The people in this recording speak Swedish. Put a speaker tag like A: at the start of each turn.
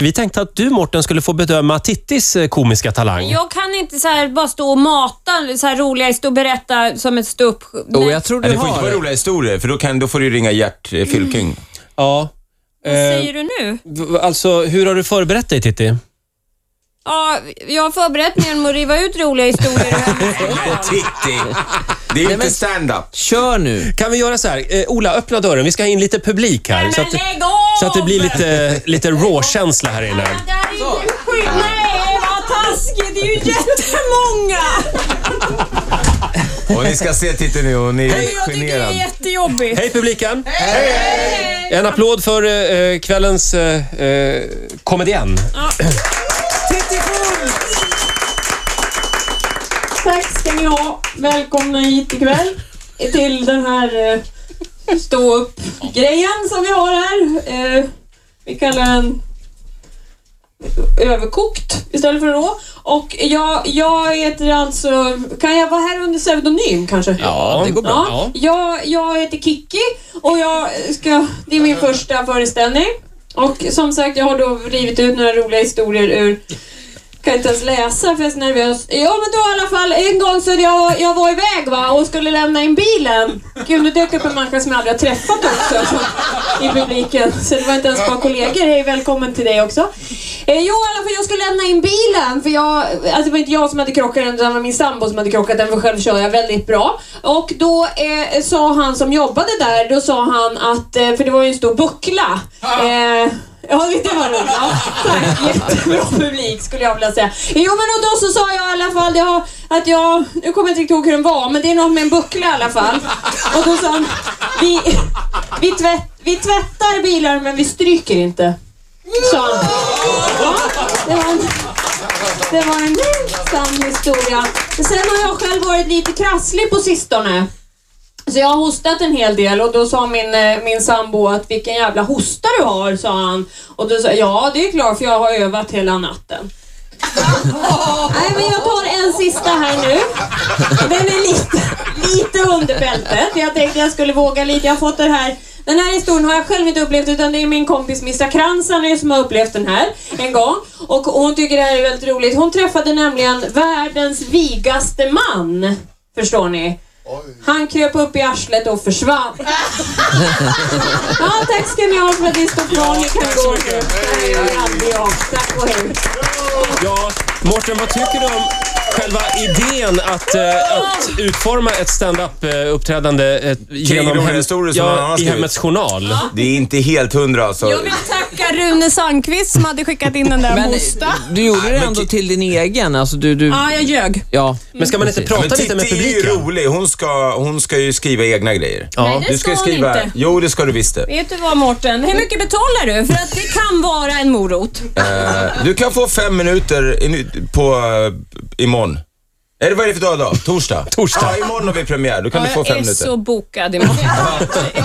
A: Vi tänkte att du, Morten, skulle få bedöma Tittis eh, komiska talang.
B: Jag kan inte så här bara stå och mata så här roliga historier och berätta som ett ståupp.
C: Jo, jag tror
D: Nej,
C: du
D: det får inte
C: har.
D: vara roliga historier, för då, kan, då får du ringa Gert eh, Fylking.
A: Ja. eh,
B: Vad säger du nu?
A: V- Alltså, hur har du förberett dig, Titti?
B: Ja, jag har förberett mig genom att riva ut roliga historier. ur hemma.
D: Titti! Det är ju inte stand-up.
C: Kör nu.
A: Kan vi göra så här? Eh, Ola, öppna dörren. Vi ska ha in lite publik här.
B: Nej,
A: Så
B: men
A: att,
B: lägg av!
A: så att det blir lite, lite raw-känsla här inne.
B: Det där är ju skit. Nej, vad taskigt. Det är ju jättemånga.
D: Och ni ska se Titti nu, hon är
B: Jag tycker det
D: generad.
B: är jättejobbigt.
A: Hej publiken! En applåd för eh, kvällens eh, eh, komedian.
E: Tack ska ni ha. Välkomna hit ikväll till den här eh, stå upp-grejen som vi har här. Eh, vi kallar den överkokt istället för rå. Och jag, jag heter alltså... Kan jag vara här under pseudonym kanske?
C: Ja, det går bra.
E: Ja, jag, jag heter Kiki och jag ska, det är min första föreställning. Och som sagt, jag har då rivit ut några roliga historier ur kan inte ens läsa för jag är så nervös. Ja men då i alla fall, en gång så jag, jag var iväg va och skulle lämna in bilen. Gud, nu dök upp en människa som jag aldrig har träffat också så, i publiken. Så det var inte ens bara kollegor. Hej, välkommen till dig också. Eh, jo i alla fall, jag skulle lämna in bilen för jag, alltså det var inte jag som hade krockat den utan det var min sambo som hade krockat den för själv kör jag väldigt bra. Och då eh, sa han som jobbade där, då sa han att, eh, för det var ju en stor buckla. Eh, Ja, det var roligt. Ja, tack. Jättebra publik skulle jag vilja säga. Jo, men och då så sa jag i alla fall det har- att jag... Nu kommer jag inte riktigt ihåg hur den var, men det är något med en buckla i alla fall. Och då sa han, vi, vi, tvätt, vi tvättar bilar men vi stryker inte. Sa han. Ja, det var en... Det var en sann historia. Sen har jag själv varit lite krasslig på sistone. Så jag har hostat en hel del och då sa min, eh, min sambo att vilken jävla hosta du har, sa han. Och då sa jag, ja det är klart för jag har övat hela natten. Nej men jag tar en sista här nu. Den är lite, lite under bältet. Jag tänkte jag skulle våga lite. Jag har fått den här den här historien har jag själv inte upplevt utan det är min kompis Missa Kranzan som har upplevt den här en gång. Och hon tycker det här är väldigt roligt. Hon träffade nämligen världens vigaste man. Förstår ni? Han kröp upp i arslet och försvann. ja, tack ska ni ha för att ni står kvar. Ni kan gå nu. Nej, det är aldrig jag. Tack och hej.
A: Ja, Morten, vad tycker du om själva idén att, eh, att utforma ett stand-up-uppträdande eh, genom
D: roliga historier som någon annan
A: ja,
D: har
A: i
D: skrivit.
A: Hemmets Journal?
D: Det är inte helt hundra alltså.
B: Jag vill tacka Rune Sandqvist som hade skickat in den där
C: Men
B: hosta.
C: du gjorde det ändå till din egen. Alltså, du, du,
B: Ja, jag ljög.
C: ja.
A: Men ska man inte
C: Precis.
A: prata
D: Men
A: lite med
D: Titti är ju
A: publiken?
D: rolig. Hon ska, hon ska ju skriva egna grejer.
B: Nej, det
D: Du ska ju
B: ska hon
D: skriva...
B: inte.
D: Jo, det ska du visst det.
B: Vet du vad Mårten? Hur mycket betalar du? För att det kan vara en morot.
D: Eh, Du kan få fem minuter i, nu- på, eh, imorgon. Eller vad är det för dag idag? Torsdag?
A: Torsdag.
D: Ja, imorgon har vi premiär. Då kan du få
B: jag
D: fem
B: är
D: minuter.
B: så bokad imorgon.